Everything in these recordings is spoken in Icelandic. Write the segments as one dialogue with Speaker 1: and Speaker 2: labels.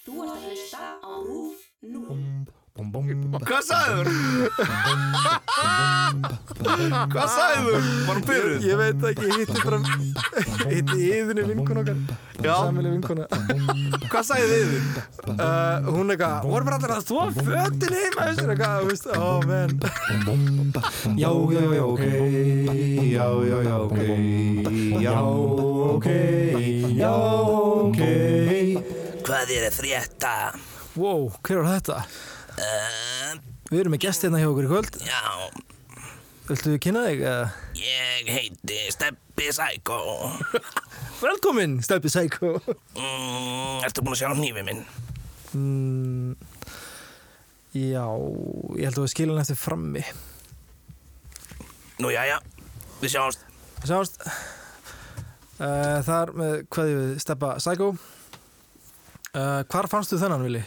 Speaker 1: Þú ert að hlusta á RÚF 0.
Speaker 2: Hvað sagður? Hvað sagður? Varum byrjuð?
Speaker 3: Ég veit ekki, ég hitti bara ég hitti yðinni vinkun okkar
Speaker 2: Já.
Speaker 3: Samileg vinkuna
Speaker 2: Hvað sagði þið þið?
Speaker 3: uh, Hún eitthvað, voru bara allir að þvó fötin heima þessu eitthvað, þú veist, oh, ó menn Já, já, já, ok Já, já, já, ok Já, ok Já, ok
Speaker 4: Hvað er að frétta?
Speaker 3: Wow, hver var þetta? Við erum með gest hérna hjá okkur í kvöld
Speaker 4: Já,
Speaker 3: Viltu kynna þig? Eh, eða?
Speaker 4: ég heiti Steppi Psycho.
Speaker 3: Velkomin, Steppi Psycho
Speaker 4: Mm, ertu búin að sjá hnífið minn?
Speaker 3: mm, Já, ég held að við skilum hann eftir frammi
Speaker 4: Nú, já, já, við sjáumst.
Speaker 3: Sjáumst uh, Þar með hvað við steppa Psycho uh, Hvar fannstu þennan, Vili?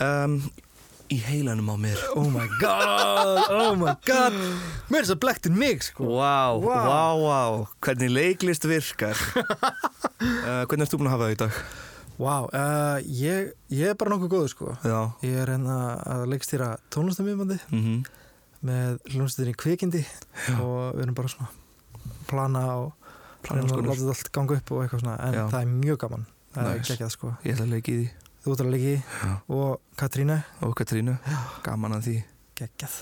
Speaker 4: Um, í heilanum á mér.
Speaker 3: Oh my god, oh my god Mér er svo blekt en mig, sko
Speaker 2: Vá,
Speaker 3: Vá.
Speaker 2: vá, vá, hvernig leiklist virkar uh, Hvernig ert þú búin að hafa það í dag?
Speaker 3: Wow, uh, ég, ég er bara nokkuð góður, sko
Speaker 2: Já
Speaker 3: Ég er hérna að leikstýra tónlistamíðbandi
Speaker 2: mm
Speaker 3: með hljómsveitinni kvikindi og við erum bara svona að plana og plana
Speaker 2: Plana alls
Speaker 3: og
Speaker 2: konar.
Speaker 3: láta þetta allt ganga upp og eitthvað svona en
Speaker 2: Já.
Speaker 3: það er mjög gaman, það er
Speaker 2: Nice.
Speaker 3: ekki ekki það sko
Speaker 2: Ég ætla að leiki í því
Speaker 3: Þú ert að leiki og Katrína
Speaker 2: Og Katrínu, gaman að því
Speaker 3: geggjað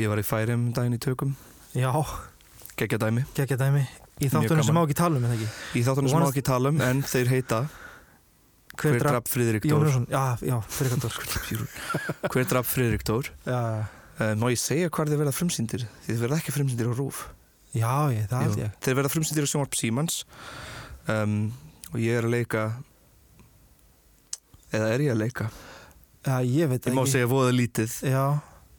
Speaker 2: Ég var í færim daginn í tökum
Speaker 3: Já,
Speaker 2: Gekja dæmi
Speaker 3: geggjað dæmi í þáttunum
Speaker 2: gaman.
Speaker 3: sem má ekki tala um en ekki
Speaker 2: Í þáttunum sem má
Speaker 3: Vonast-
Speaker 2: ekki tala um En þeir heita Hver draf Friðrik
Speaker 3: Jón
Speaker 2: Dór
Speaker 3: Jónsson, já, já, fyrir hvað Dór
Speaker 2: Hver draf Friðrik Dór
Speaker 3: Já,
Speaker 2: uh, Má ég segja hvar þeir verða frumsýndir? Því Þeir verða ekki frumsýndir á RÚF
Speaker 3: já, ég, það held
Speaker 2: Jú,
Speaker 3: ég
Speaker 2: Þeir verða frumsýndir á sjónvarp Símans um, Og ég er að leika Eða er ég að leika?
Speaker 3: Já, ég veit
Speaker 2: Ég má segja voða lítið
Speaker 3: Já, já,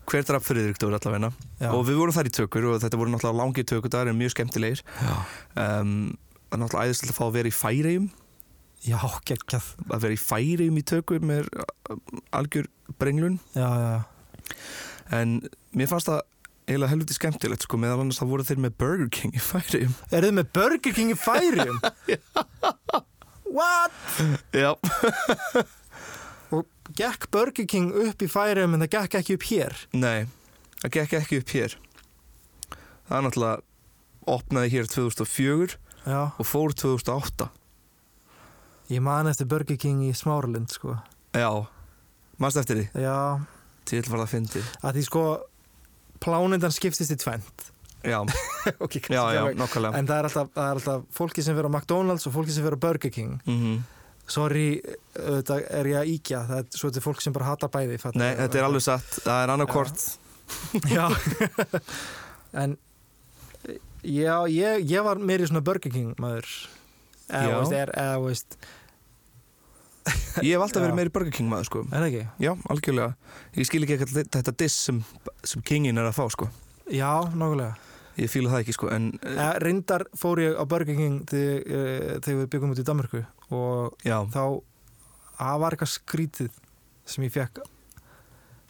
Speaker 2: Hver draf Friðrik Dór allavegna
Speaker 3: já,
Speaker 2: Og við vorum þar í tökur og þetta voru náttúrulega langir tökur Það er mjög skemmtilegir um, Það er náttúrulega æðislega að fá að vera í færegjum
Speaker 3: já, geggjað
Speaker 2: Að vera í færegjum í tökum er uh, algjör brenglun
Speaker 3: Já, já,
Speaker 2: En mér fannst það eiginlega helviti skemmtilegt sko Meðal annars það voru þeir með Burger King í færegjum
Speaker 3: eru þið með Burger King í færum? What?
Speaker 2: Já,
Speaker 3: og gekk Burger King upp í færum en það gekk ekki upp hér
Speaker 2: nei, það gekk ekki upp hér Það er náttúrulega opnaði hér 2004
Speaker 3: já.
Speaker 2: og fór 2008
Speaker 3: ég man eftir Burger King í Smáralind sko.
Speaker 2: Já, mannst eftir því
Speaker 3: já,
Speaker 2: Til var það fyndið
Speaker 3: að því sko plánindan skiptist í tvent
Speaker 2: Já,
Speaker 3: okay, kannski
Speaker 2: já, já,
Speaker 3: alveg.
Speaker 2: nokkulega
Speaker 3: en það er, alltaf, það er alltaf fólki sem fyrir á McDonalds og fólki sem fyrir á Burger King
Speaker 2: mm
Speaker 3: sorry, þetta er ég að íkja það er svo þetta er fólk sem bara hatar bæði fattar
Speaker 2: Nei,
Speaker 3: þú?
Speaker 2: þetta er alveg satt, það er annarkort
Speaker 3: já en já, ég, ég var meir í svona Burger King maður
Speaker 2: Já.
Speaker 3: eða, þú veist, er, eða, þú veist,
Speaker 2: Ég hef
Speaker 3: Já.
Speaker 2: alltaf verið meiri Burger King maður sko
Speaker 3: er það ekki?
Speaker 2: Já, algjörlega Ég skil ekki eitthvað þetta diss sem, sem Kingin er að fá sko
Speaker 3: já, nákvæmlega
Speaker 2: Ég fíla það ekki sko En uh,
Speaker 3: Eh, Reyndar fór ég á Burger King þegar, eh, þegar við byggum út í Danmörku og
Speaker 2: já,
Speaker 3: þá það var eitthvað skrítið sem ég fekk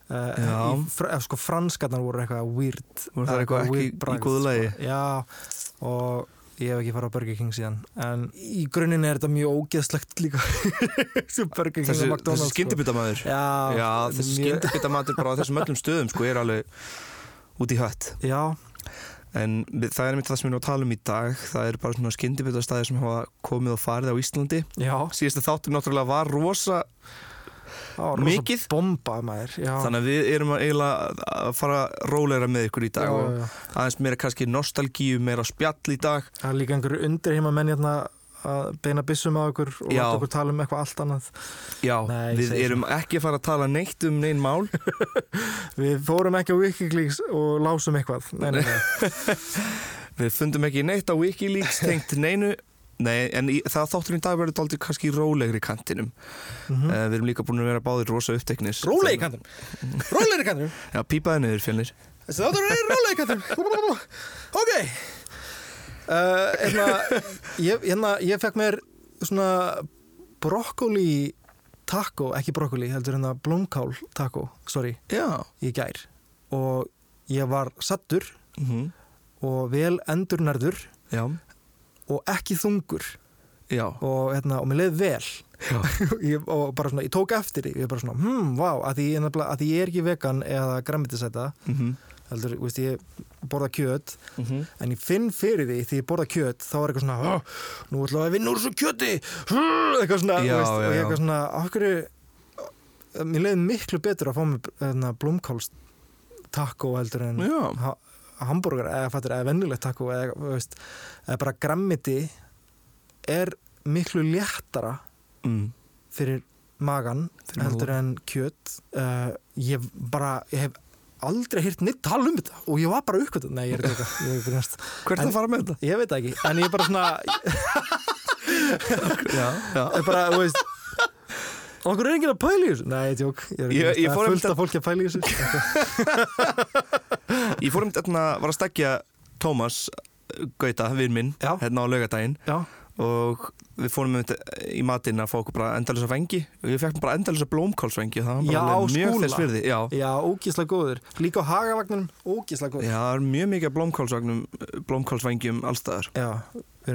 Speaker 2: Já.
Speaker 3: uh, fr eh, sko, franskarnar voru eitthvað weird eh,
Speaker 2: voru það eitthvað ekki
Speaker 3: weird bragð,
Speaker 2: í góðu lagi
Speaker 3: sko. Já, og ég hef ekki farið á Burger King síðan en í grunninn er þetta mjög ógeðslegt líka sem Burger King
Speaker 2: Þessi,
Speaker 3: og
Speaker 2: þessi
Speaker 3: McDonalds
Speaker 2: skyndibita maður
Speaker 3: sko. Já,
Speaker 2: Já, þessi
Speaker 3: mjög-
Speaker 2: skyndibita maður bara á þessum öllum stöðum sko er alveg út í hött
Speaker 3: Já,
Speaker 2: En við- það er mitt það sem við erum að tala um í dag Það er bara svona skyndibita staðir sem hafa komið og farið á Íslandi
Speaker 3: já
Speaker 2: Síðasta þáttum náttúrulega var rosa
Speaker 3: á, rosa
Speaker 2: Mikið?
Speaker 3: Bomba maður já.
Speaker 2: Þannig að við erum að eiginlega að fara rólegra með ykkur í dag
Speaker 3: já,
Speaker 2: og
Speaker 3: já, já.
Speaker 2: aðeins meira kannski nostalgíu, meira spjall í dag
Speaker 3: Það er líka einhverju undir heima menn hérna að beina byssum á okkur og
Speaker 2: Já.
Speaker 3: láta okkur tala um eitthvað allt annað.
Speaker 2: Já,
Speaker 3: Nei, ég
Speaker 2: við
Speaker 3: segi
Speaker 2: erum ekki að fara að tala neitt um neinn mál
Speaker 3: Við fórum ekki á Wikileaks og lásum eitthvað. Nei, nei, nei.
Speaker 2: Við fundum ekki neitt á Wikileaks tengt neinu Nei, en í, það þáttur í dag verður dálítið kannski í rólegri kantinum
Speaker 3: Mm
Speaker 2: mm. Við erum líka búin að vera báðir rosa uppteknir
Speaker 3: Rólega í kantum. Rólega í kantum.
Speaker 2: Já, pípaði niður fjölnir
Speaker 3: Þessi þáttur er rólega í kantum. Ok. Uh, hérna, ég, hérna, ég fekk mér svona brokkoli taco, ekki brokkoli, heldur hérna blómkál taco, sorry,
Speaker 2: Já
Speaker 3: í gær. Og ég var sattur
Speaker 2: mm
Speaker 3: og vel endurnærður
Speaker 2: Já,
Speaker 3: og ekki þungur
Speaker 2: já,
Speaker 3: og, hérna, og mér leið vel
Speaker 2: já,
Speaker 3: ég, og bara svona, ég tók eftir því, ég bara svona, hmm, vá, að því, ég nefnilega- að því ég er ekki vegan eða græmitisæta
Speaker 2: mhm,
Speaker 3: heldur, veist, ég borða kjöt
Speaker 2: mhm,
Speaker 3: en ég finn fyrir því því ég borða kjöt þá er eitthvað svona, "Hó, nú ætlum við að vinna úr þessu kjöti Hú, eitthvað svona, þú
Speaker 2: Já,
Speaker 3: veist,
Speaker 2: já,
Speaker 3: og ég
Speaker 2: já.
Speaker 3: eitthvað svona, af hverju mér leiði miklu betur að fá mér hérna, blómkáls taco heldur en
Speaker 2: já,
Speaker 3: ha hambúrgar eða, fattir, eða vennilegt taco eða, þú veist, eða bara grammiti er miklu léttara
Speaker 2: mm,
Speaker 3: fyrir magan
Speaker 2: Fyrir
Speaker 3: heldur en kjöt uh, ég bara, ég hef aldrei hýrt neitt tala um þetta og ég var bara uppkvæmt nei, ég er ekki eitthvað, ég er grunast
Speaker 2: hvert
Speaker 3: En-
Speaker 2: að fara með þetta?
Speaker 3: ég veit það ekki, en ég bara svona
Speaker 2: Já, já,
Speaker 3: ég bara, þú veist okkur er enginn að pæla í þessu nei, ég tjók, ég,
Speaker 2: Ég-
Speaker 3: er
Speaker 2: ég
Speaker 3: ekki
Speaker 2: fór
Speaker 3: fullt af fólki að pæla í þessu
Speaker 2: ég fór um þetta var að stakja Tómas Gauta, vinn minn,
Speaker 3: Já.
Speaker 2: hérna á laugardaginn
Speaker 3: já,
Speaker 2: og við fórum um þetta í matinn að fá okkur bara endalisa vengi og ég fekk bara endalisa blómkálsvengi og það
Speaker 3: Já,
Speaker 2: var bara alveg mjög
Speaker 3: Skúla.
Speaker 2: þess virði já,
Speaker 3: já, ógísla góður líka á hagavagninum, ógísla góður já.
Speaker 2: já, það er mjög mikið af blómkálsvagnum blómkálsvengjum allstaðar
Speaker 3: við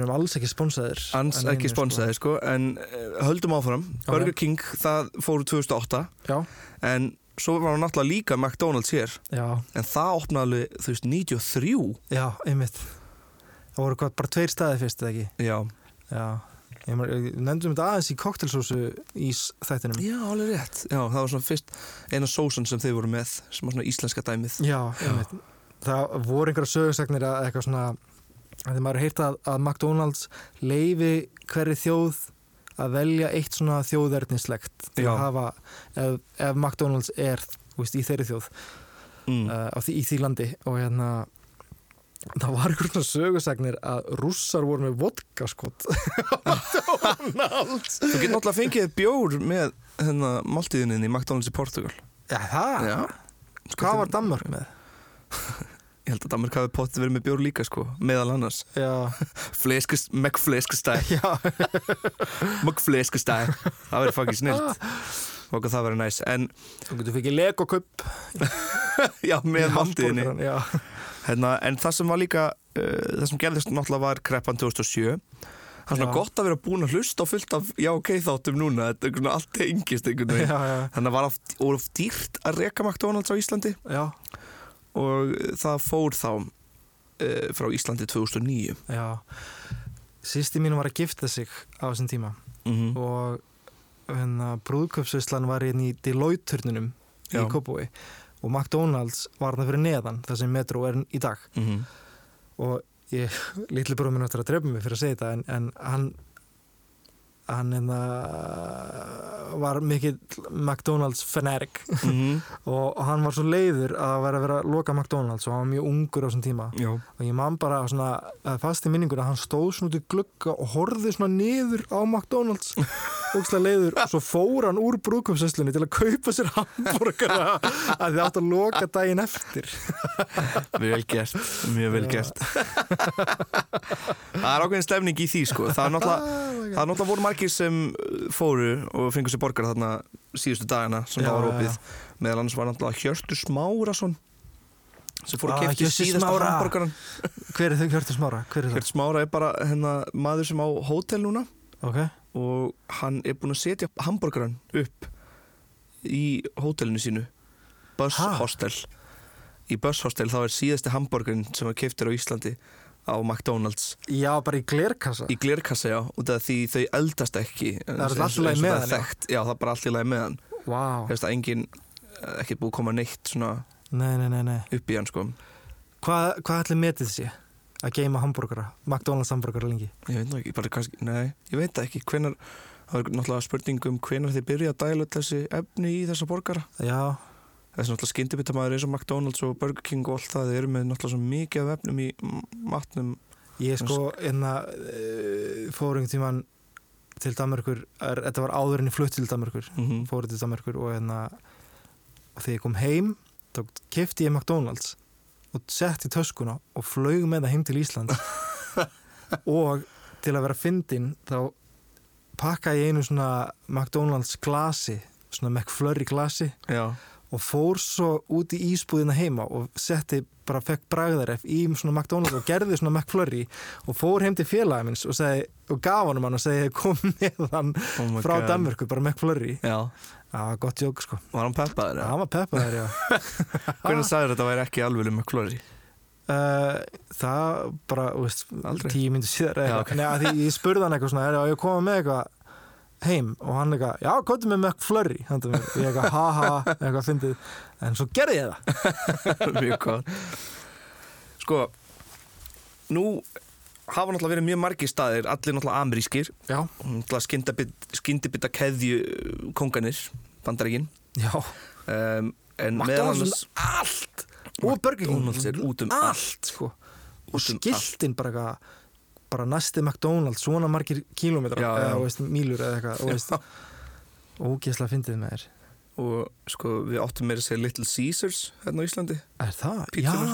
Speaker 3: erum alls ekki sponsaðir
Speaker 2: Ans
Speaker 3: En
Speaker 2: ekki
Speaker 3: neinu,
Speaker 2: sponsaði sko, en uh, höldum áfram
Speaker 3: Ok.
Speaker 2: Burger King, það fóru 2008
Speaker 3: sko. já,
Speaker 2: en svo var hann náttúrulega líka McDonalds hér,
Speaker 3: já,
Speaker 2: en það opnaði alveg, þú veist, 93
Speaker 3: já, einmitt það voru hvað, bara tveir staði fyrst eða ekki
Speaker 2: Já,
Speaker 3: Já, ég man- ég- nefndum þetta aðeins í koktelsósu ís þættinum
Speaker 2: já alveg rétt Já, það var svona fyrst eina sósan sem þau voru með sem var svona íslenska dæmið
Speaker 3: Já, einmitt. það voru einhverja sögursagnir að eitthvað svona að þið maður heirt að, að McDonalds leifi hverri þjóð að velja eitt svona þjóðernislegt til
Speaker 2: Já.
Speaker 3: að hafa ef, ef McDonalds er þú veist, í þeirri þjóð
Speaker 2: mm.
Speaker 3: uh, á því, í því landi og hérna það var einhverjum svona sögursagnir að rússar voru með sko. vodkaskot McDonalds
Speaker 2: Þú getur náttúrulega fengið bjór með hérna, maltíðinni í McDonalds í Portugal
Speaker 3: Já, það, hvað var Danmark með?
Speaker 2: Ég held að Danmark hafi potti verið með bjór líka sko, meðal annars
Speaker 3: Já,
Speaker 2: Fleskust, McFleskustæ
Speaker 3: já
Speaker 2: McFleskustæ Það verið fucking snilt
Speaker 3: Ah.
Speaker 2: Og það verið næs En
Speaker 3: Þú getur fikið legokupp
Speaker 2: Já, með máltíðinni
Speaker 3: Já,
Speaker 2: hérna, En það sem var líka uh, Það sem gerðist náttúrulega var kreppan 2007 Það er svona
Speaker 3: Já.
Speaker 2: gott að vera búin að hlusta á fullt af Já, ok, þáttum núna Þetta er einhvern veginn allt tengist einhvern
Speaker 3: já,
Speaker 2: veginn
Speaker 3: já,
Speaker 2: Þannig að var oft, og oft dýrt að reka McDonalds á Íslandi
Speaker 3: já,
Speaker 2: Og uh, það fór þá uh,
Speaker 3: eh,
Speaker 2: Frá Íslandi 2009
Speaker 3: já. Sýsti mín var að gifta sig á þessum tíma
Speaker 2: mm
Speaker 3: og hérna, brúðköpsvislan var hérna í Deloitte-turnunum í
Speaker 2: Já.
Speaker 3: Kópói og McDonalds var hérna fyrir neðan þar sem metro er í dag
Speaker 2: -hmm.
Speaker 3: og ég, litli bróðum minn áttur að drepa mig fyrir að segja þetta en, en hann hann hérna var mikill McDonalds fanarik
Speaker 2: Mm -hmm.
Speaker 3: og hann var svo leiður að vera að vera að loka McDonalds og hann var mjög ungur á þessum tíma
Speaker 2: Já,
Speaker 3: og ég man bara svona eh, fast í minningur að hann stóð svona út í glugga og horfði svona niður á McDonalds ógstlega leiður og svo fór hann úr brúkumsesslunni til að kaupa sér hambúrgara að þið átt að loka daginn eftir
Speaker 2: vel gert, mjög vel gert Það er ákveðin stemning í því sko Það er náttúrulega
Speaker 3: Ah, oh
Speaker 2: Það er náttúrulega voru margir sem uh, fóru og fengur sér borgar þarna síðustu dagana sem
Speaker 3: Já,
Speaker 2: það var opið
Speaker 3: já,
Speaker 2: meðal annars var náttúrulega Hjörtur Smárasson sem fór að
Speaker 3: Ah,
Speaker 2: kefti
Speaker 3: Hjörtur
Speaker 2: síðasta
Speaker 3: Smára.
Speaker 2: hambúrgaran
Speaker 3: hver er þau Hjörtur Smára? Hver er það?
Speaker 2: Hjörtur Smára er bara hennar maður sem á hótel núna
Speaker 3: Ok,
Speaker 2: og hann er búinn að setja hambúrgaran upp í hótelinu sínu Buzz
Speaker 3: Ha?
Speaker 2: Hostel í Buzz Hostel þá er síðasti hambúrgarin sem að keftir á Íslandi á McDonalds
Speaker 3: já bara í glerkassa
Speaker 2: í glerkassa já, út af því þau eldast ekki
Speaker 3: Ah. er
Speaker 2: eins-
Speaker 3: allt
Speaker 2: eins-
Speaker 3: í lagi
Speaker 2: eins og
Speaker 3: með
Speaker 2: það er
Speaker 3: hann, já.
Speaker 2: þekkt, já það er bara allt í lagi með hann
Speaker 3: Vá,
Speaker 2: þess að enginn eh, ekkert búið að koma neitt svona
Speaker 3: nei, nei, nei, nei
Speaker 2: upp í hann sko
Speaker 3: Hvað, hvað ætli metið sé að geima hambúrgara, McDonalds hambúrgara lengi?
Speaker 2: ég veit nú ekki, bara kannski, nei, ég veit það ekki hvenar, það er náttúrulega spurning um hvenar þið byrja að dæla öll þessi efni í þessa borgara
Speaker 3: Já,
Speaker 2: þessi náttúrulega skyndibitamaður eins og McDonalds og Burger King og allt það, þeir eru með náttúrulega svo mikið af efnum í m- matnum
Speaker 3: Ég sko, hérna, uh, fór einhvern tíman til Danmarkur, er, þetta var áður en ég flutt til Danmarkur,
Speaker 2: mm -hmm.
Speaker 3: fór til Danmarkur og hérna, og þegar ég kom heim, þá kefti ég McDonalds og sett í töskuna og flög með það heim til Íslands og til að vera fyndin, þá pakkaði ég einu svona McDonalds glasi, svona McFlurry glasi
Speaker 2: já,
Speaker 3: og fór svo út í ísbúðina heima og setti bara, fekk bragðaref í svona McDonalds og gerði svona McFlurry og fór heim til félagin minns og, segi, og gaf honum hann og segi kom með hann
Speaker 2: Oh my
Speaker 3: frá
Speaker 2: God.
Speaker 3: Danmörku, bara McFlurry
Speaker 2: Já,
Speaker 3: það var gott jók sko,
Speaker 2: var hann peppaður?
Speaker 3: það var peppaður já
Speaker 2: Hvernig sagður þetta væri ekki alveg um klóri?
Speaker 3: Uh, það bara, þú veist,
Speaker 2: Aldrei.
Speaker 3: tíu myndir síðar eða
Speaker 2: Já,
Speaker 3: eitthvað. Nei, að því ég spurði hann eitthvað svona, er ég að koma með eitthvað heim og hann eitthvað, já, komdu með McFlurry handa mér, ég eitthvað, ha ha, eitthvað fyndið en svo gerði ég það
Speaker 2: Mjög gott Sko, nú hafa náttúrulega verið mjög margir staðir allir náttúrulega amerískir
Speaker 3: Já,
Speaker 2: náttúrulega skyndibita keðju konganir, bandaríkin
Speaker 3: já,
Speaker 2: um, en meðal
Speaker 3: McDonalds
Speaker 2: annars
Speaker 3: er allt og Burger King
Speaker 2: McDonald's er út um
Speaker 3: allt, sko og
Speaker 2: Út um
Speaker 3: skiltin bara eitthvað bara næsti McDonalds, svona margir kílómetrar
Speaker 2: Já, já.
Speaker 3: eða, þú veist, mílur eða eitthvað, þú veist ógeðslega fyndið með þér
Speaker 2: og sko, við áttum meira að segja Little Caesars hérna á Íslandi
Speaker 3: Er það?
Speaker 2: Pítsunar,
Speaker 3: já,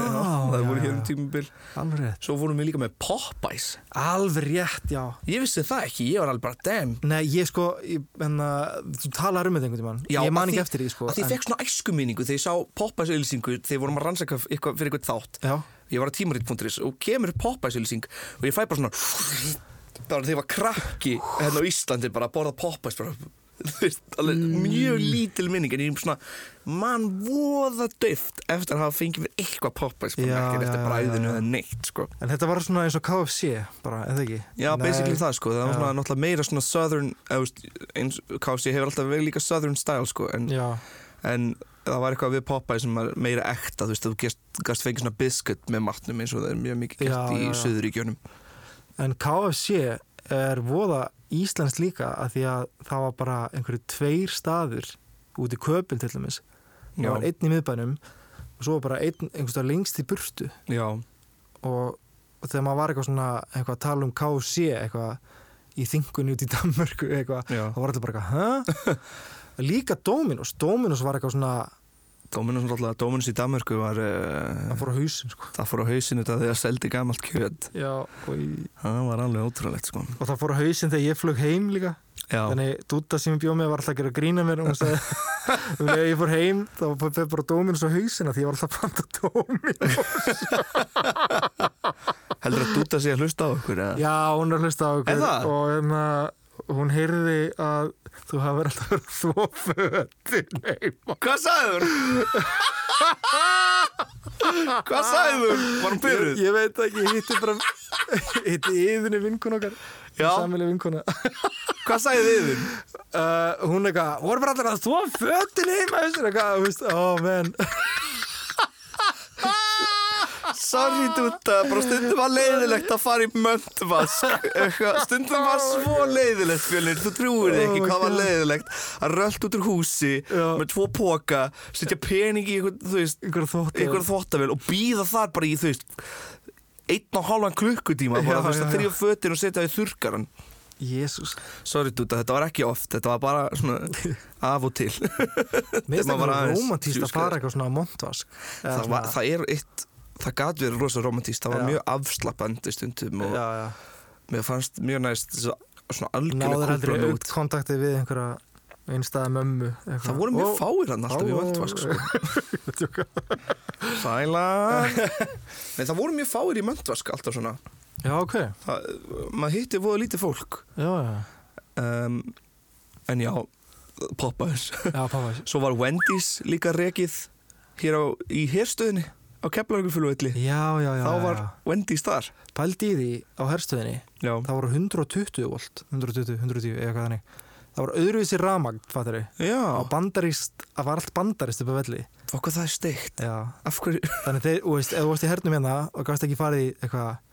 Speaker 2: það
Speaker 3: já,
Speaker 2: voru hér um
Speaker 3: já.
Speaker 2: tímubil
Speaker 3: Alveg rétt
Speaker 2: Svo vorum við líka með Popeyes
Speaker 3: Alveg rétt, já
Speaker 2: Ég vissi það ekki, ég var alveg bara damn
Speaker 3: Nei, ég sko, ég, en að þú talar um þetta einhvern tímann
Speaker 2: Já,
Speaker 3: Ég man
Speaker 2: að
Speaker 3: ekki
Speaker 2: því-
Speaker 3: eftir því, sko
Speaker 2: að því ég
Speaker 3: en-
Speaker 2: fekk svona æskuminningu þegar ég sá Popeyes auðlýsingu þegar við vorum að rannsaka eitthvað fyrir eitthvað þátt
Speaker 3: Já,
Speaker 2: ég var á tímarit.is og kemur Popeyes-auðlýsing og ég fæ bara svona bara þegar ég var krakki hérna á Íslandi bara að borða Popeyes bara, þú veist, alveg
Speaker 3: Mm.
Speaker 2: mjög lítil minning en ég er svona, mann voða döft eftir að hafa fengið mér eitthvað Popeyes bara
Speaker 3: Já,
Speaker 2: ekki
Speaker 3: já,
Speaker 2: eftir
Speaker 3: já, já.
Speaker 2: bræðinu eða neitt sko.
Speaker 3: en þetta var svona eins og KFC, bara, eða ekki
Speaker 2: já,
Speaker 3: Nei,
Speaker 2: basically það sko, það var
Speaker 3: Já.
Speaker 2: svona náttúrulega meira svona southern, eða veist, eins KFC hefur alltaf verið líka southern style sko, en,
Speaker 3: Já,
Speaker 2: en það var eitthvað við Popeyes sem var meira ekta, þú veist, þú gast, gast fengið svona biscuit með matnum eins og það er mjög mikið
Speaker 3: Já,
Speaker 2: gert
Speaker 3: já,
Speaker 2: í
Speaker 3: já.
Speaker 2: söðuríkjunum
Speaker 3: en KFC er voða íslensk líka af því að það var bara einhverju tveir staður út í Köpil til dæmis Það
Speaker 2: Já.
Speaker 3: var einn í miðbænum og svo var bara einn, einhverstað lengst í burtu
Speaker 2: já,
Speaker 3: og, og þegar maður var eitthvað svona eitthvað að tala um KFC eitthvað í þingunni út í Danmörku eitthvað,
Speaker 2: Já.
Speaker 3: þá var alltaf bara eitthvað, hæ? Líka Dominos, Dominos var eitthvað svona
Speaker 2: Dóminus náttúrulega, Dóminus í Danmörku var
Speaker 3: að
Speaker 2: uh,
Speaker 3: fóra á hausin sko.
Speaker 2: það fór á hausinu þetta þegar seldi gamalt kjöt
Speaker 3: Já, og, í-
Speaker 2: það var alveg ótrúlegt sko
Speaker 3: og það fór á hausin þegar ég flög heim líka
Speaker 2: já,
Speaker 3: þannig Dúta sem ég bjóð með var alltaf að gera grína mér og hún sagði um leið að ég fór heim þá fyrir bara Dominos á hausina því ég var alltaf að panta Dominos
Speaker 2: heldur að dúta sig að hlusta á okkur eða?
Speaker 3: Já, hún er að hlusta á
Speaker 2: Er
Speaker 3: okkur
Speaker 2: það?
Speaker 3: og hérna hún heyrði að þú hafa verið alltaf verið svo fötin heima
Speaker 2: hvað sagður? hvað sagður? var hún
Speaker 3: ég,
Speaker 2: byrjuð?
Speaker 3: ég veit ekki, ég hitti bara ég hitti yðinni vinkun okkar
Speaker 2: Já.
Speaker 3: samileg vinkuna
Speaker 2: hvað sagði þið þinn?
Speaker 3: uh, hún eitthvað, voru bara allir að svo fötin heima þessu eitthvað, þú veist, ó oh, menn
Speaker 2: sorry dúta, bara stundum var leiðilegt að fara í möndvask Eitthvað, stundum var svo leiðilegt fjölnir, þú trúir því ekki
Speaker 3: Oh my
Speaker 2: hvað var
Speaker 3: God.
Speaker 2: leiðilegt að rölt út úr húsi
Speaker 3: Já.
Speaker 2: með tvo póka, setja pening í eitthvað, þú veist,
Speaker 3: ykkur þótt
Speaker 2: einhver þvottavél og býða þar bara í þú veist einn og hálfan klukkutíma bara
Speaker 3: Já,
Speaker 2: þú veist að
Speaker 3: já,
Speaker 2: þrjá fötin og setja það í þurrkaran
Speaker 3: Jésús,
Speaker 2: sorry dúta, þetta var ekki oft, þetta var bara svona af og til
Speaker 3: mér finnst
Speaker 2: maður var
Speaker 3: eitthvað
Speaker 2: aðeins
Speaker 3: romantíst að
Speaker 2: djúskaður.
Speaker 3: fara eitthvað svona á montvask Eða
Speaker 2: það, var, það er eitt, það gat verið rosa romantíst, það var
Speaker 3: Já.
Speaker 2: mjög afslappandi stundum og
Speaker 3: já, já.
Speaker 2: mér fannst mjög næst þess að svona algjörlega
Speaker 3: náður heldur
Speaker 2: kúplan
Speaker 3: aukt kontaktið við einhverja einstæða mömmu eitthvað.
Speaker 2: Það voru mjög
Speaker 3: Ó,
Speaker 2: fáir hann alltaf í
Speaker 3: Ó.
Speaker 2: möndvask sko. Sæla Nei, það voru mjög fáir í möndvask alltaf svona
Speaker 3: já, ok,
Speaker 2: það, Maður hitti voða lítið fólk
Speaker 3: já, já,
Speaker 2: um, En já, Popeyes
Speaker 3: já, pappa
Speaker 2: Svo var Wendy's líka rekið hér á, í herstöðinni á Keflavíkurflugvelli
Speaker 3: já, já, já,
Speaker 2: Þá var
Speaker 3: já.
Speaker 2: Wendy's þar
Speaker 3: pældi í því á herstöðinni
Speaker 2: Já,
Speaker 3: það voru 120 volt 120, 110 eða hvað þannig það voru öðruvísi ramagn, fattar við
Speaker 2: já
Speaker 3: og bandarist, það var allt bandarist upp að velli
Speaker 2: okkur það er steikt
Speaker 3: já,
Speaker 2: Af hverju,
Speaker 3: þannig þeir, þú veist, ef þú varst í hernum hérna og gafst ekki farið í eitthvað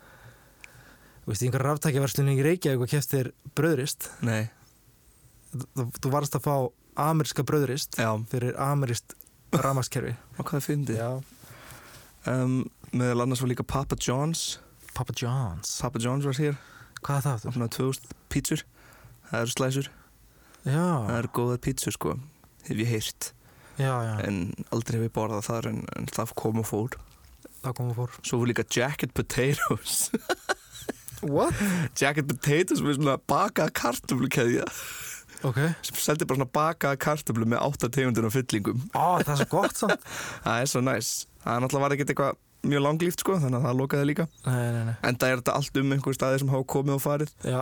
Speaker 3: þú veist, í einhver ráftækjaverslunni í Reykjavík og kefst þér bröðrist
Speaker 2: nei,
Speaker 3: þú, þú varst að fá ameríska bröðrist
Speaker 2: já,
Speaker 3: fyrir ameríst ramaskerfi
Speaker 2: okkur það er fyndið um, Meðal annars var líka Papa John's
Speaker 3: Papa John's
Speaker 2: Papa John's var hér
Speaker 3: hvað er það
Speaker 2: Það er
Speaker 3: aftur?
Speaker 2: svona 2000 pítsur Það eru slæsur, það
Speaker 3: já,
Speaker 2: eru góða pítsur sko Hef ég heyrt
Speaker 3: já, já,
Speaker 2: En aldrei hef ég borðað þar en, en það kom og fór
Speaker 3: það kom og fór
Speaker 2: Svo var líka jacket potatoes
Speaker 3: what?
Speaker 2: Jacket potatoes með svona bakað kartumlukeðja
Speaker 3: ok
Speaker 2: sem seldi bara svona bakaða kartöflu með átta tegundur og fyllingum
Speaker 3: Ó, það er svo gott samt
Speaker 2: það er svo næs það er náttúrulega var ekkert eitthvað mjög langlíft sko þannig að það lokaði líka
Speaker 3: Nei, nei, nei
Speaker 2: en það er þetta allt um einhver staði sem hafa komið og farið
Speaker 3: Já,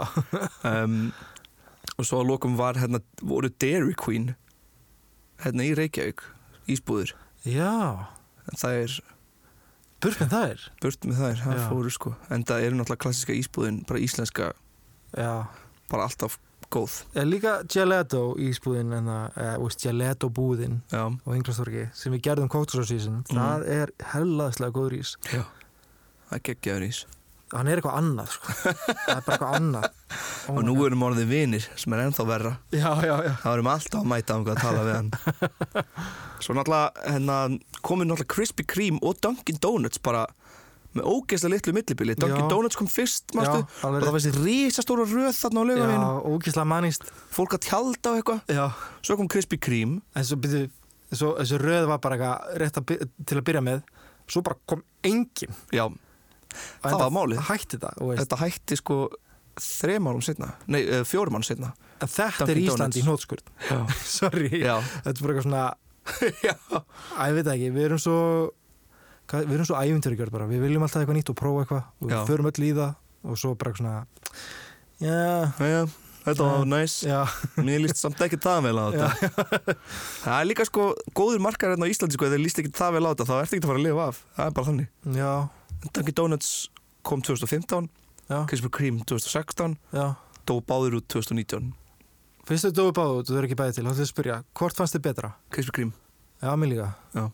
Speaker 2: um, og svo að lokum var hérna voru Dairy Queen hérna í Reykjavík ísbúður
Speaker 3: já
Speaker 2: en það er
Speaker 3: Burfinn það er
Speaker 2: burt með þær það
Speaker 3: Já.
Speaker 2: fóru sko en það eru náttúrulega klassiska ísbúðin bara íslenska
Speaker 3: Já
Speaker 2: bara alltaf góð
Speaker 3: Ég líka gelato í spúðin en það, eða, þú veist, gelato búðin
Speaker 2: já
Speaker 3: á Inglastorgi sem við gerðum kóktursásísin
Speaker 2: Mm.
Speaker 3: það er hellaðslega góður ís
Speaker 2: já það er geggjaður ís
Speaker 3: hann er eitthvað annað sko. það er bara eitthvað annað oh
Speaker 2: og
Speaker 3: my
Speaker 2: nú
Speaker 3: God.
Speaker 2: erum orðið vinir sem er ennþá verra
Speaker 3: já, já, já
Speaker 2: Það verðum alltaf að mæta um hvað að tala við hann Svo náttúrulega hérna, komið náttúrulega Krispy Kreme og Dunkin Donuts bara með ógeðslega litlu millibili Dunkin
Speaker 3: Já.
Speaker 2: Donuts kom fyrst,
Speaker 3: Já,
Speaker 2: mástu og
Speaker 3: alveg.
Speaker 2: það var þessi risastóra röð þarna á
Speaker 3: já,
Speaker 2: laugavinu
Speaker 3: ógíslega mannist
Speaker 2: fólk að tjalda og eitthvað
Speaker 3: já.
Speaker 2: Svo kom Krispy Kreme
Speaker 3: en svo byrju svo, þessi röð var bara eitthvað rétt að, by- til að byrja með svo bara kom engin
Speaker 2: Já, Það var málið.
Speaker 3: hætti það, þú veist.
Speaker 2: þetta hætti sko þrem árum setna, nei, eh, fjórum árum setna
Speaker 3: en þetta er
Speaker 2: Dunkin'
Speaker 3: Ísland í
Speaker 2: Donuts.
Speaker 3: hnótskurt sorry,
Speaker 2: Já.
Speaker 3: þetta er bara eitthvað svona
Speaker 2: Já,
Speaker 3: Æ, ég veit það ekki, við erum svo hvað, við erum svo æfinturgjörð bara, við viljum alltaf eitthvað nýtt og prófa eitthvað og við
Speaker 2: Já.
Speaker 3: förum öll í það og svo bara eitthvað svona já,
Speaker 2: já Þetta var næs,
Speaker 3: já,
Speaker 2: mér líst samt ekki það vel á þetta Það er líka sko góður markar hérna á Íslandi sko, ef þeir líst ekki það vel á þetta þá ertu ekki að fara að lifa af, það er bara þannig
Speaker 3: já
Speaker 2: Dunkin Donuts kom 2015
Speaker 3: já,
Speaker 2: Krispy Kreme 2016
Speaker 3: já
Speaker 2: dó báðir út 2019
Speaker 3: fyrst þau dói báðu, þú verður ekki bæði til, þá ætlum við að spyrja hvort fannst þið betra?
Speaker 2: Krispy Kreme,
Speaker 3: Já, mér líka,
Speaker 2: það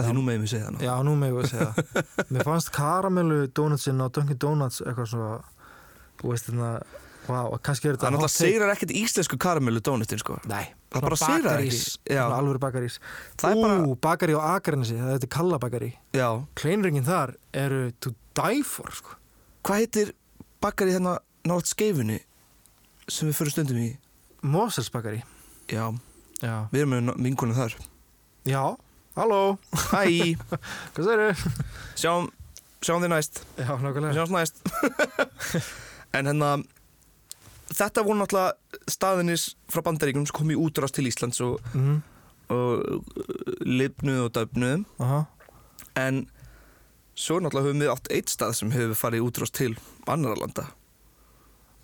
Speaker 3: Já.
Speaker 2: er nú með mig segja það nú.
Speaker 3: já, nú með ég að segja það. mér fannst karamellu dónutsinn á Dunkin Donuts eitthvað svona þú veist þarna, vá, wow, kannski er þetta
Speaker 2: Það er
Speaker 3: hot
Speaker 2: náttúrulega
Speaker 3: take.
Speaker 2: seirar ekkert íslensku karamellu donutin sko
Speaker 3: Nei,
Speaker 2: Það bara
Speaker 3: svona
Speaker 2: sigrar
Speaker 3: bakarís,
Speaker 2: ekki. Já.
Speaker 3: svona alvöru bakarís
Speaker 2: Það er bara-
Speaker 3: Ú, bakari á Akranesi, það heitir Kalla bakari
Speaker 2: Já,
Speaker 3: kleinringin þar eru to die for sko.
Speaker 2: hvað heitir bakkar í þennan nátt skeifunni sem við fyrir stundum í
Speaker 3: Mosels bakari
Speaker 2: Já,
Speaker 3: já,
Speaker 2: við erum með vinkunum þar
Speaker 3: já, halló
Speaker 2: Hæ,
Speaker 3: hvað það eru?
Speaker 2: sjáum, sjáum þið næst
Speaker 3: já,
Speaker 2: Við
Speaker 3: nákvæmlega
Speaker 2: sjáumst næst En hérna Þetta voru náttúrulega staðinir frá bandaríkjum sem kom í útrást til Íslands og,
Speaker 3: mm,
Speaker 2: og lifnuð og döfnuð
Speaker 3: aha,
Speaker 2: en svo náttúrulega höfum við átt eitt stað sem hefur farið útrást til annara landa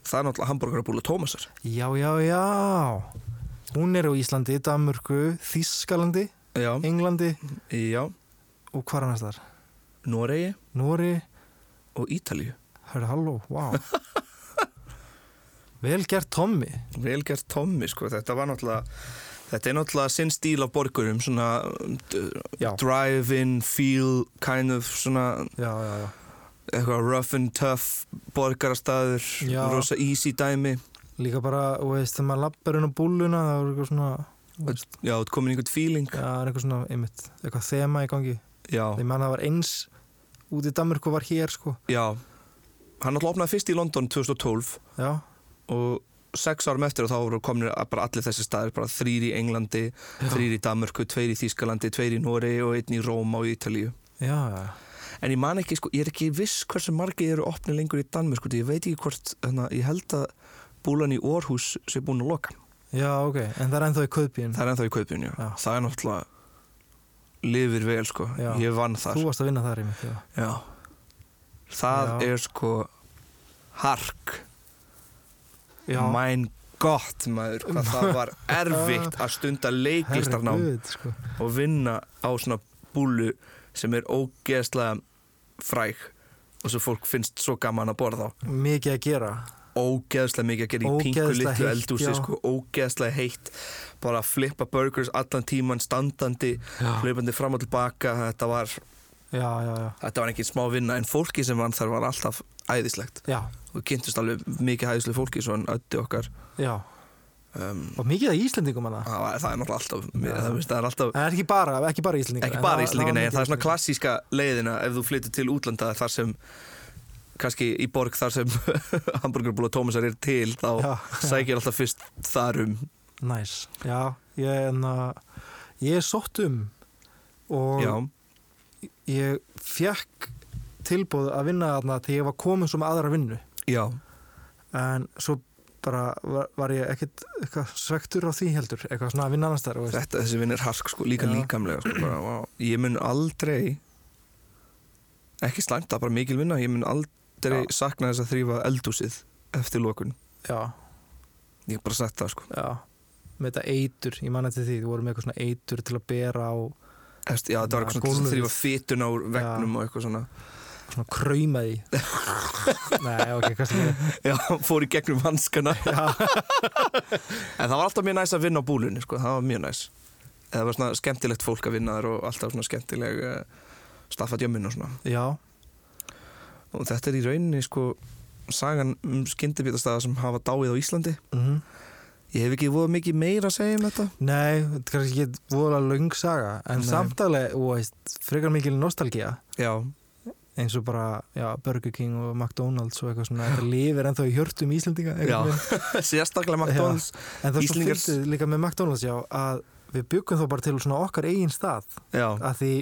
Speaker 2: það er náttúrulega hambúrgarabúla Tómasar
Speaker 3: já, já, já hún er á Íslandi, Danmörku Þískalandi,
Speaker 2: já,
Speaker 3: Englandi
Speaker 2: já,
Speaker 3: og hvað er næst þar?
Speaker 2: Noregi
Speaker 3: Nóri,
Speaker 2: og Ítalíu
Speaker 3: hörðu halló, wow vel gert Tommy
Speaker 2: velgert Tommi sko, þetta var náttúrulega þetta er náttúrulega sinn stíl af borgurum svona
Speaker 3: Já.
Speaker 2: drive-in feel kind of svona
Speaker 3: já, já, já,
Speaker 2: eitthvað rough and tough borgarastæður,
Speaker 3: Já.
Speaker 2: rosa easy dæmi
Speaker 3: líka bara, þú veist, þegar maður lappar inn á búluna, það er eitthvað svona
Speaker 2: já, þú ert komin í einhvern feeling
Speaker 3: Já, það er eitthvað svona, einmitt, eitthvað þema í gangi
Speaker 2: já,
Speaker 3: Ég man það var eins út í Danmörku var hér sko
Speaker 2: já hann náttúrulega opnaði fyrst í London 2012
Speaker 3: Já,
Speaker 2: og sex árum eftir og þá voru komin bara allir þessi staðir, bara þrýr í Englandi þrýr í Danmörku, tveir í Þýskalandi tveir í Noregi og einn í Róma og Ítalíu
Speaker 3: já, já,
Speaker 2: en ég man ekki, sko, ég er ekki viss hversu margir eru opnið lengur í Danmörku sko, því ég veit ekki hvort, þannig ég held að búlan í Orhus sé búin að loka
Speaker 3: já, ok En það er ennþá í kaupbíin
Speaker 2: það er ennþá í kaupinu, já.
Speaker 3: Mm. Já.
Speaker 2: það er náttúrulega lifir vel, sko,
Speaker 3: Já.
Speaker 2: ég vann þar
Speaker 3: Þú varst að vinna þar einmitt, já
Speaker 2: já. það
Speaker 3: Já.
Speaker 2: er sko hark
Speaker 3: Já,
Speaker 2: mæn gott maður, hvað það var erfitt að stunda leiklistarnám
Speaker 3: herregud, sko
Speaker 2: og vinna á svona búlu sem er ógeðslega fræg og svo fólk finnst svo gaman að borða á
Speaker 3: Mikið að gera
Speaker 2: ógeðslega mikið að gera í pinku
Speaker 3: Ógeðslega
Speaker 2: litlu
Speaker 3: heitt,
Speaker 2: eldúsi
Speaker 3: já.
Speaker 2: sko, ógeðslega heitt bara að flippa burgers allan tíman standandi,
Speaker 3: Já.
Speaker 2: hlaupandi fram og tilbaka þetta var,
Speaker 3: Já, já, já
Speaker 2: þetta var ekki smá vinna en fólki sem vann þar var alltaf æðislegt
Speaker 3: Já,
Speaker 2: og kynntust alveg mikið hæðislega fólki svo hann ötti okkar
Speaker 3: já
Speaker 2: um,
Speaker 3: Og mikið að Íslendingum hana
Speaker 2: það, var, það er náttúrulega alltaf, það, veist, það er alltaf
Speaker 3: En ekki bara, ekki bara Íslendingar
Speaker 2: ekki
Speaker 3: en
Speaker 2: bara
Speaker 3: það-
Speaker 2: Íslandinga,
Speaker 3: var
Speaker 2: nei, en
Speaker 3: mikið
Speaker 2: það er svona
Speaker 3: Íslendingar.
Speaker 2: klassíska leiðina ef þú flyttir til útlanda þar sem kannski í borg þar sem hamburgerbúla Tómasar er til þá
Speaker 3: Já.
Speaker 2: sækir alltaf fyrst þar um
Speaker 3: Næs, já, ég en að Ég er sótt um Og
Speaker 2: já,
Speaker 3: ég fekk tilbúð að vinna þarna þegar ég var komin svo með aðra vinnu
Speaker 2: já,
Speaker 3: en svo bara var, var ég ekkert eitthvað svektur á því heldur eitthvað svona að vinna annars þar
Speaker 2: Þetta, þessi vinn er hark sko, líka
Speaker 3: Já.
Speaker 2: líkamlega sko, bara, vá. Ég mun aldrei ekki slæmt, það er bara mikil vinna ég mun aldrei
Speaker 3: Já.
Speaker 2: sakna þess að þrýfa eldhúsið eftir lokun
Speaker 3: já,
Speaker 2: Ég hef bara sett það sko
Speaker 3: já með þetta eitur, ég manna til því þú voru með eitthvað svona eitur til að bera á
Speaker 2: Eftir, Já, það
Speaker 3: Já,
Speaker 2: var eitthvað svona
Speaker 3: gólfið.
Speaker 2: að þrýfa fytun á vegnum og eitthvað svona
Speaker 3: svona krauma því nei, ok, hvað sem ég
Speaker 2: Já, fór í gegnum hanskana En það var alltaf mjög næs að vinna á búlunni sko, það var mjög næs Það var svona skemmtilegt fólk að vinna þar og alltaf svona skemmtileg uh, staffat jömmin og svona
Speaker 3: já,
Speaker 2: og þetta er í rauninni sko sagan um skyndibitastaða sem hafa dáið á Íslandi
Speaker 3: mhm
Speaker 2: Ég hef ekki voða mikið meira að segja um þetta
Speaker 3: Nei, þetta er kannski ekki voðalega löng saga en
Speaker 2: Nei.
Speaker 3: samtalið, þú veist, frekar mikil nostalgía
Speaker 2: Já,
Speaker 3: eins og bara, já, Burger King og McDonalds og eitthvað svona, þetta lifir ennþá í hjörtum Íslendinga
Speaker 2: já
Speaker 3: einhvern veginn.
Speaker 2: Sérstaklega McDonalds
Speaker 3: en það er svo
Speaker 2: Íslendingar-
Speaker 3: fyndið líka með McDonalds, já að við byggum þá bara til svona okkar eigin stað
Speaker 2: Já,
Speaker 3: að því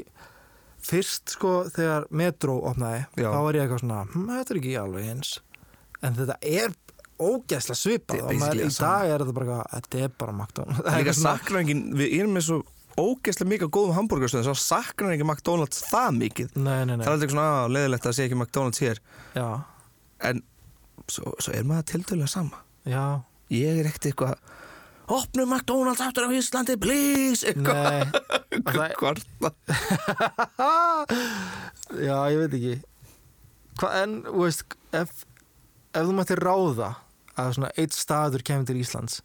Speaker 3: fyrst sko þegar Metro opnaði,
Speaker 2: Já.
Speaker 3: þá var ég eitthvað svona hm, þetta er ekki alveg eins en þetta er ógæsla svipað
Speaker 2: Þetta er
Speaker 3: og maður,
Speaker 2: basically
Speaker 3: í
Speaker 2: það sama.
Speaker 3: dag er þetta bara eitthvað, þetta er bara McDonalds
Speaker 2: það er líka
Speaker 3: Eitthvað svona-
Speaker 2: saknængin Við erum með svo ógeðslega mikið af góðum hambúrgarstöðum svo saknængin McDonalds það mikið
Speaker 3: Nei, nei,
Speaker 2: Það er
Speaker 3: nei,
Speaker 2: aldrei svona að leðilegt að sé ekki McDonalds hér
Speaker 3: já,
Speaker 2: En svo, svo er maður tildurlega sama
Speaker 3: já
Speaker 2: Ég er ekkert eitthvað Opnum McDonalds aftur á Íslandi, please Eitthvað
Speaker 3: Nei, það,
Speaker 2: kvarta
Speaker 3: já, ég veit ekki Hva, En, þú veist, ef, ef þú mættir ráða að svona eitt staður kemur til Íslands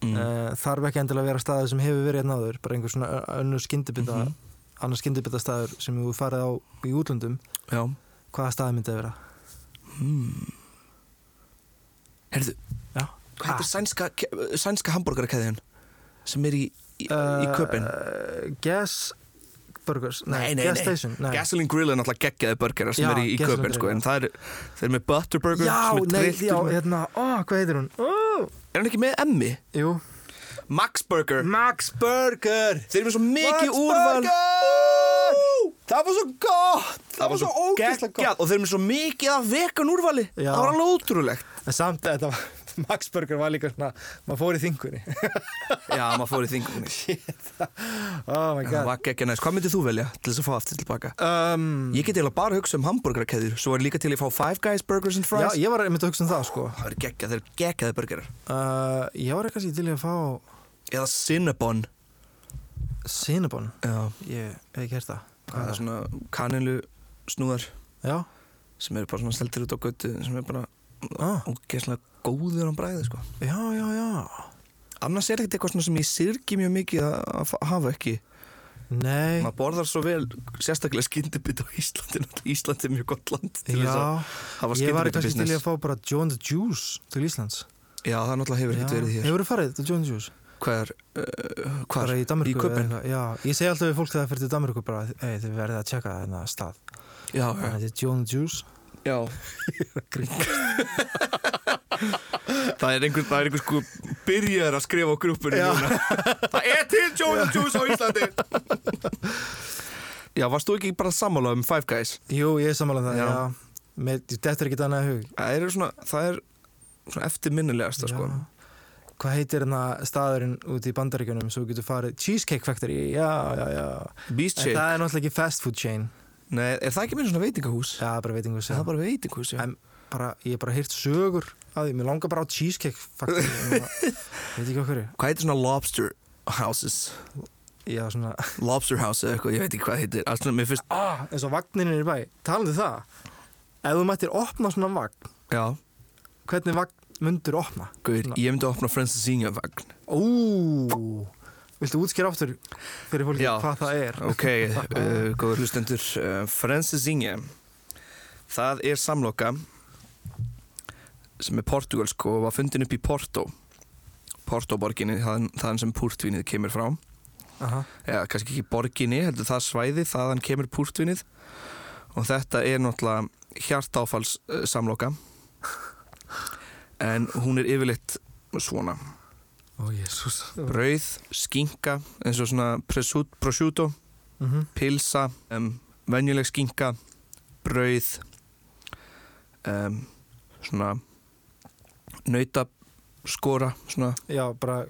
Speaker 3: mm.
Speaker 2: mm.
Speaker 3: þarf ekki endilega að vera staður sem hefur verið einn áður, bara einhver svona ö- önnur skyndibita
Speaker 2: Mhm.
Speaker 3: annar skyndibita staður sem þú farið á í útlöndum
Speaker 2: Já
Speaker 3: hvaða staður myndið að vera?
Speaker 2: Herðu,
Speaker 3: Já.
Speaker 2: hvað
Speaker 3: Ah,
Speaker 2: heitir sænska, sænska hambúrgarkeðjan sem er í, í, í köpinn?
Speaker 3: Uh, gas Burgers, nei,
Speaker 2: Nei, nei,
Speaker 3: Gas
Speaker 2: nei.
Speaker 3: Station nei.
Speaker 2: Gasoline Grill er náttúrulega geggjaði burgerar sem
Speaker 3: Já,
Speaker 2: er í, í
Speaker 3: Gasoline
Speaker 2: köpinn sko,
Speaker 3: Grill,
Speaker 2: en það er, þeir eru með butter burger
Speaker 3: Já,
Speaker 2: sem er
Speaker 3: nei,
Speaker 2: drilltur
Speaker 3: já,
Speaker 2: með-
Speaker 3: hérna, ó, hvað heitir hún? Ó,
Speaker 2: Er hann ekki með emmi?
Speaker 3: jú
Speaker 2: Max Burger
Speaker 3: Max Burger
Speaker 2: Þeir eru með svo mikið
Speaker 3: Max
Speaker 2: úrval Ú,
Speaker 3: Það var svo gott
Speaker 2: Það var svo geggjað og þeir eru með svo mikið af vegan úrvali
Speaker 3: Já.
Speaker 2: Það var alveg ótrúlegt
Speaker 3: En samt að þetta var, Max Burger var líka svona maður fór í þingunni
Speaker 2: Já, maður fór í þingunni
Speaker 3: Oh my
Speaker 2: Það
Speaker 3: god
Speaker 2: var geggja næst Hvað myndið þú velja til þess að fá aftur tilbaka?
Speaker 3: um,
Speaker 2: Ég get eiginlega bara að hugsa um hambúrgarkeðjur Svo er líka til að fá Five Guys Burgers and
Speaker 3: Já,
Speaker 2: Fries
Speaker 3: ég var einmitt að hugsa um það sko
Speaker 2: Það eru geggjað, þeir eru geggjaði burgerar
Speaker 3: uh, Ég var eitthvað sér til í að fá
Speaker 2: Eða Cinnabon
Speaker 3: Cinnabon
Speaker 2: Já,
Speaker 3: Ég hef ekki hert það Hvað
Speaker 2: það
Speaker 3: er
Speaker 2: er svona kanilu snúðar
Speaker 3: Já,
Speaker 2: sem eru bara svona seltir út á götu sem er bara
Speaker 3: ah,
Speaker 2: ógeðslega góður á bræði sko.
Speaker 3: já, já, já
Speaker 2: annars er ekkert eitthvað svona sem ég syrgi mjög mikið að- að fa- hafa ekki
Speaker 3: Nei,
Speaker 2: maður borðar svo vel, sérstaklega skyndibit á Íslandi, náttúrulega Íslandi er mjög gott land til þess að
Speaker 3: já
Speaker 2: hafa
Speaker 3: Ég var eitthvað sér til í
Speaker 2: skyndibitabusiness
Speaker 3: að fá bara John the Juice til Íslands
Speaker 2: já, það náttúrulega hefur ekkert verið hér
Speaker 3: Hefur farið til John the Juice?
Speaker 2: hvað er, uh, hvað
Speaker 3: bara í Danmörku eða
Speaker 2: Köben?
Speaker 3: eitthvað. já, ég segi alltaf við fólk þegar það fyrir til Danmörku bara, ei, þið verðið að tjekka þennan stað
Speaker 2: já, já,
Speaker 3: þetta er John Juice
Speaker 2: já. það er einhver, það er einhver sko byrjar að skrifa á grúpunni
Speaker 3: Já.
Speaker 2: núna það er til Joe and Juice á Íslandi já, varst þú ekki bara sammála um Five Guys?
Speaker 3: jú, ég er samanlega það,
Speaker 2: Já.
Speaker 3: já, Mér, þetta er ekki annað í hug
Speaker 2: Það er svona, það er svona eftirminnilegasta sko.
Speaker 3: Já. hvað heitir hérna staðurinn úti í bandaríkjunum svo þú getur farið, Cheesecake Factory já, já, já,
Speaker 2: Beast
Speaker 3: en
Speaker 2: Shake,
Speaker 3: það er náttúrulega ekki fast food chain
Speaker 2: Nei, er það ekki meira svona veitingahús?
Speaker 3: já, bara veitingu
Speaker 2: Það
Speaker 3: sem
Speaker 2: er bara veitingahús, já
Speaker 3: en bara, ég er bara heyrt sögur að því, mér langar bara á Cheesecake Factory Ég bara- veit ekki okkur,
Speaker 2: Hvað heitir svona lobster houses?
Speaker 3: já, svona
Speaker 2: Lobster house eða eitthvað, ég veit ekki hvað heitir Allt svona, mér finnst,
Speaker 3: ah, eins og vagninir í bæ, talandi um það ef þú mættir opna svona vagn
Speaker 2: já,
Speaker 3: hvernig vagn myndur opna?
Speaker 2: guður, ég myndi að opna Francesinha vagn
Speaker 3: Ú, viltu útskýra aftur fyrir fólki
Speaker 2: Já.
Speaker 3: hvað það er?
Speaker 2: Ok, uh, góður hlustendur uh, Francesinha Það er samloka sem er portugalsk og var fundin upp í Porto Porto borginni, þaðan þaðan sem púrtvinið kemur frá
Speaker 3: Aha.
Speaker 2: eða kannski ekki borginni, heldur það svæði þaðan kemur púrtvinnið og þetta er náttúrulega hjartáfalls uh, samloka en hún er yfirleitt svona,
Speaker 3: Ó, jésús
Speaker 2: brauð, skinka eins og svona presut, prosciutto
Speaker 3: Mhm.
Speaker 2: pilsa, um, venjuleg skinka brauð um, svona nauta skora, svona
Speaker 3: já, bara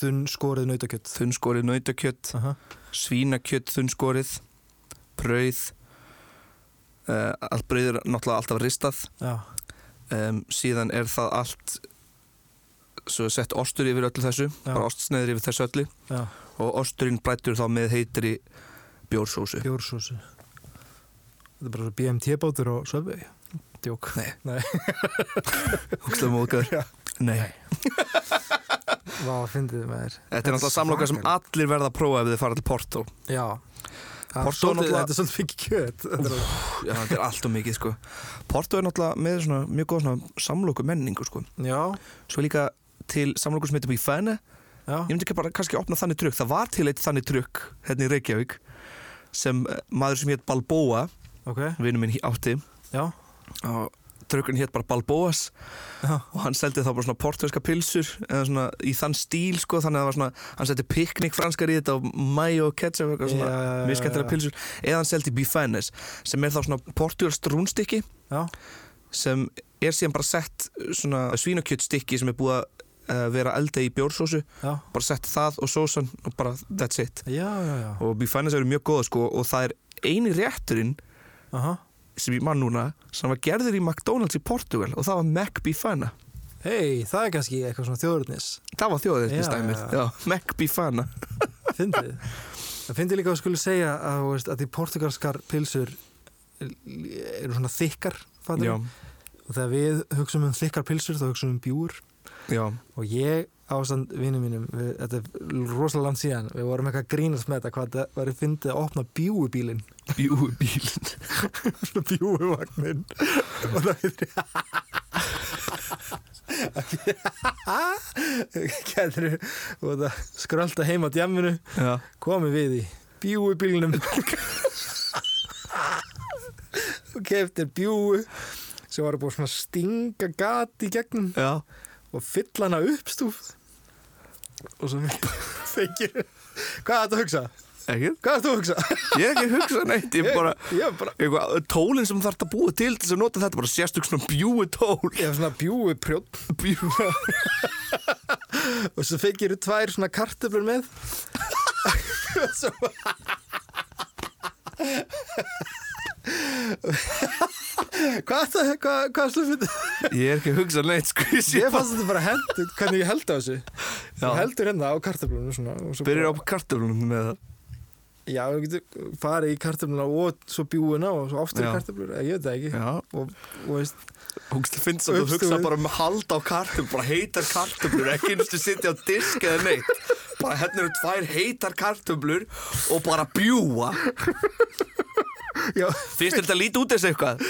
Speaker 3: þunn skorið nautakjött
Speaker 2: þunnskorið nautakjött
Speaker 3: Aha.
Speaker 2: svínakjött þunnskorið brauð uh, allt brauð er náttúrulega alltaf ristað
Speaker 3: já,
Speaker 2: um, síðan er það allt svo sett ostur yfir öllu þessu
Speaker 3: Já.
Speaker 2: bara ostsneiður yfir þessu öllu
Speaker 3: já,
Speaker 2: og osturinn brættur þá með heitri bjórsósu
Speaker 3: bjórsósu þetta er bara svo BMT bátur og söfvei djók
Speaker 2: Nei.
Speaker 3: Nei.
Speaker 2: Hugstum móðgöður Nei,
Speaker 3: Vá, fyndið maður
Speaker 2: þetta er náttúrulega samloka sem
Speaker 3: svakalegt.
Speaker 2: allir verða að prófa ef þið fara til Porto
Speaker 3: Já Það er
Speaker 2: Porto
Speaker 3: svolítið-
Speaker 2: náttúrulega-
Speaker 3: Þetta er svolítið mikið kjöt Þetta er alveg-
Speaker 2: Já, þetta er allt og mikið sko Porto er náttúrulega með svona mjög góð svona samloku menningu sko
Speaker 3: Já,
Speaker 2: Svo líka til samloku sem heitir Bífæne
Speaker 3: já,
Speaker 2: Ég myndi ekki bara kannski opna þannig trukk Það var til eitt þannig trukk hérna í Reykjavík sem eh, maður sem hétt Balboa
Speaker 3: ok
Speaker 2: vinnu minn hí- átti
Speaker 3: Já,
Speaker 2: og trukkurinn hétt bara Balboas
Speaker 3: já,
Speaker 2: og hann seldi þá bara svona portugalska pilsur eða svona í þann stíl sko þannig að það var svona, hann seldi piknik franskar í þetta og mayo og ketchup eitthvað svona
Speaker 3: Já, já, já, já, já.
Speaker 2: miskættilega pilsur eða hann seldi bifanes sem er þá svona portugalskt rúnstykki
Speaker 3: já,
Speaker 2: sem er síðan bara sett svona svínakjöttstykki sem er búið að eh, vera elda í bjórsósu
Speaker 3: já
Speaker 2: bara sett það og sósan og bara that's it
Speaker 3: Já, já, já
Speaker 2: og bifanes eru mjög góða sko og það er eini rétturinn
Speaker 3: Aha.
Speaker 2: sem ég mann núna sem var gerður í McDonalds í Portugal og það var Mac Bifana
Speaker 3: Hei, það er kannski eitthvað svona þjóðurnis
Speaker 2: Það var þjóðirni
Speaker 3: Já,
Speaker 2: stæmið,
Speaker 3: já.
Speaker 2: já, Mac Bifana
Speaker 3: Fyndið Það fyndið líka að skulu segja að, þú veist, að því portugalskar pilsur eru svona þykkar fattarðu?
Speaker 2: Já,
Speaker 3: og þegar við hugsum um þykkar pilsur þá hugsum við um bjúur
Speaker 2: já,
Speaker 3: og ég ástand vinnum mínum við, þetta er rosalega langt síðan við vorum eitthvað að grínast með þetta hvað það var fyndið að opna bjúubílinn
Speaker 2: bjúi bílinn
Speaker 3: bjúuvagnin og það heitir Gætur og það skrölda heim á djamminu
Speaker 2: Já,
Speaker 3: komið við í bjúu bílnum og keftir bjúu sem var búið svona að stinga gat í gegnum
Speaker 2: já,
Speaker 3: og fylla hana upp stúf og svo fengir hvað er þetta að hugsa?
Speaker 2: ekki
Speaker 3: hvað er þetta að hugsa?
Speaker 2: Ég er ekki að hugsa neitt, ég er bara
Speaker 3: ég er bara
Speaker 2: eitthvað, Tólinn sem þarf að búa til til þess að nota þetta bara sérstök svona bjúi tól
Speaker 3: ég hef svona bjúu prjótt
Speaker 2: Bjúi
Speaker 3: og svo fengir þú tvær svona kartöflur með og svo hvað er það, hvað, hvað slúfið
Speaker 2: Ég er ekki að hugsa neitt, sko Ég sé
Speaker 3: ég fannst þetta bara hendur, hvernig ég held á þessu
Speaker 2: Já.
Speaker 3: ég heldur hérna á kartöflunum svona og svo
Speaker 2: Byrjar á
Speaker 3: bara,
Speaker 2: kartöflunum með það
Speaker 3: já, þú getur farið í kartöfluna og svo bjúuna og svo aftur í
Speaker 2: Já.
Speaker 3: kartöflur, ég veit það ekki
Speaker 2: Já,
Speaker 3: og, og veist,
Speaker 2: hugst það finnst að þú
Speaker 3: Uppstúfið.
Speaker 2: hugsa bara um hald á kartöflur bara heitar kartöflur, ekki einstu sitja á disk eða neitt bara hérna eru tvær heitar kartöflur og bara bjúa
Speaker 3: já,
Speaker 2: Finnst þér þetta lítið út þessu eitthvað?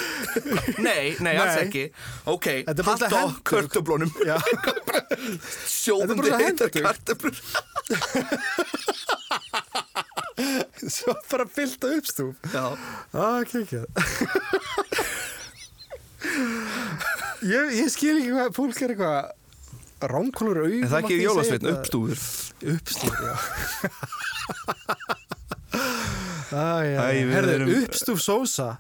Speaker 2: Nei, nei, alls
Speaker 3: Nei.
Speaker 2: ekki Ok,
Speaker 3: Þetta er bara
Speaker 2: hald á
Speaker 3: hendur.
Speaker 2: kartöflunum
Speaker 3: já Þetta er
Speaker 2: Sjóðandi
Speaker 3: bara
Speaker 2: heitar
Speaker 3: hendur.
Speaker 2: kartöflur
Speaker 3: svo bara fyllt á uppstúf
Speaker 2: Já,
Speaker 3: Ah, klikjað ég, ég skil ekki hvað fólk er eitthvað ránkólur augum
Speaker 2: en það er ekki
Speaker 3: átti ég að segja
Speaker 2: jólasveitn,
Speaker 3: þetta.
Speaker 2: uppstúður
Speaker 3: Uppstúf, já ah, já,
Speaker 2: Æ,
Speaker 3: já.
Speaker 2: við
Speaker 3: Herðu,
Speaker 2: erum-
Speaker 3: uppstúf sósa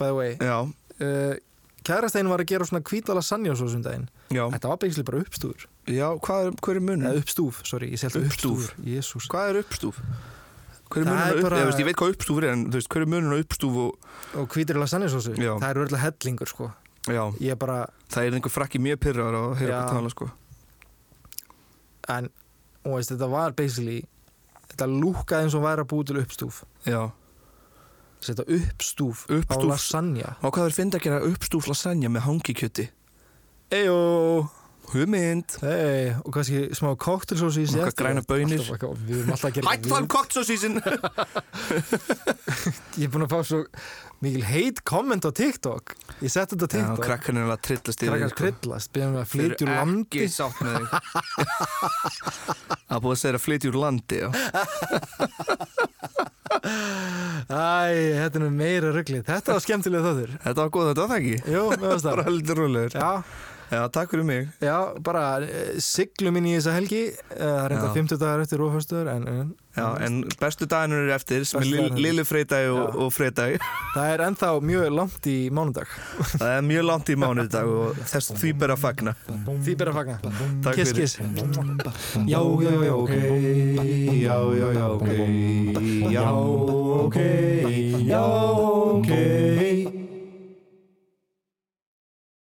Speaker 3: by the way
Speaker 2: Já,
Speaker 3: uh, Kærastein var að gera svona hvítala sannjá sósum daginn
Speaker 2: já,
Speaker 3: Þetta var beigislega bara uppstúfur
Speaker 2: já, hvað er, hver er munum?
Speaker 3: Eða uppstúf, sorry, ég sé alltaf
Speaker 2: Uppstúf.
Speaker 3: uppstúfur Jésús
Speaker 2: Hvað er uppstúf? Hver
Speaker 3: Það er
Speaker 2: er munum?
Speaker 3: bara-
Speaker 2: Bara... Ég, veist, ég veit hvað uppstúfur er, en þú veist, hver er munum á uppstúf og
Speaker 3: Og hvítirlega sannjá sósu,
Speaker 2: Já.
Speaker 3: það er verðilega hellingur sko
Speaker 2: Já,
Speaker 3: Ég bara,
Speaker 2: það er einhver frakki mjög pyrrar að heyra
Speaker 3: Já.
Speaker 2: okkur tala, sko
Speaker 3: en og veist, þetta var basically þetta lúkaði eins og væri að búi til uppstúf
Speaker 2: Já
Speaker 3: þetta uppstúf,
Speaker 2: Uppstúf.
Speaker 3: á lasagna
Speaker 2: Og hvað er fynd að gera uppstúf lasagna með hangikjöti?
Speaker 3: Eyjó
Speaker 2: Hugmynd
Speaker 3: hey, og kannski smá koktelsósi í sig
Speaker 2: Nokkrar
Speaker 3: eftir.
Speaker 2: grænar baunir.
Speaker 3: Alltaf eitthvað- við erum alltaf að gera
Speaker 2: Hætt þann koktsósísin
Speaker 3: ég er búin að fá svo mikil heit komment á TikTok ég sett þetta á
Speaker 2: Já,
Speaker 3: TikTok
Speaker 2: krakkan er alveg að trillast yfir því,
Speaker 3: krakkar kryllast beðum við að flytja úr
Speaker 2: Þeir eru
Speaker 3: landi
Speaker 2: ekki sátt með þig Það er búið að segja að flytja úr landi já.
Speaker 3: Æ, þetta er nú meira ruggli þetta var skemmtilega þóttur
Speaker 2: Þetta var góð, þetta var það ekki
Speaker 3: Jú, mér varst það
Speaker 2: Bara heldur rólegur
Speaker 3: Já,
Speaker 2: Já, takk fyrir mig
Speaker 3: Já, bara eh, siglum inn í þessa helgi eh, Það er enda
Speaker 2: Já.
Speaker 3: 50 dagar eftir rófhöstur en, en
Speaker 2: Já, en bestu dagarnir eru eftir sem er
Speaker 3: Bestu
Speaker 2: lill-
Speaker 3: dagarnir.
Speaker 2: Lillu freitagi og,
Speaker 3: Já.
Speaker 2: og freitagi
Speaker 3: það er ennþá mjög langt í mánudag
Speaker 2: Það er mjög langt í mánudag og þess því ber að fagna
Speaker 3: Því ber að fagna
Speaker 2: Takk
Speaker 3: Kiss,
Speaker 2: fyrir
Speaker 3: kiss Já, já, já, ok Já, já, já, ok Já, ok Já, ok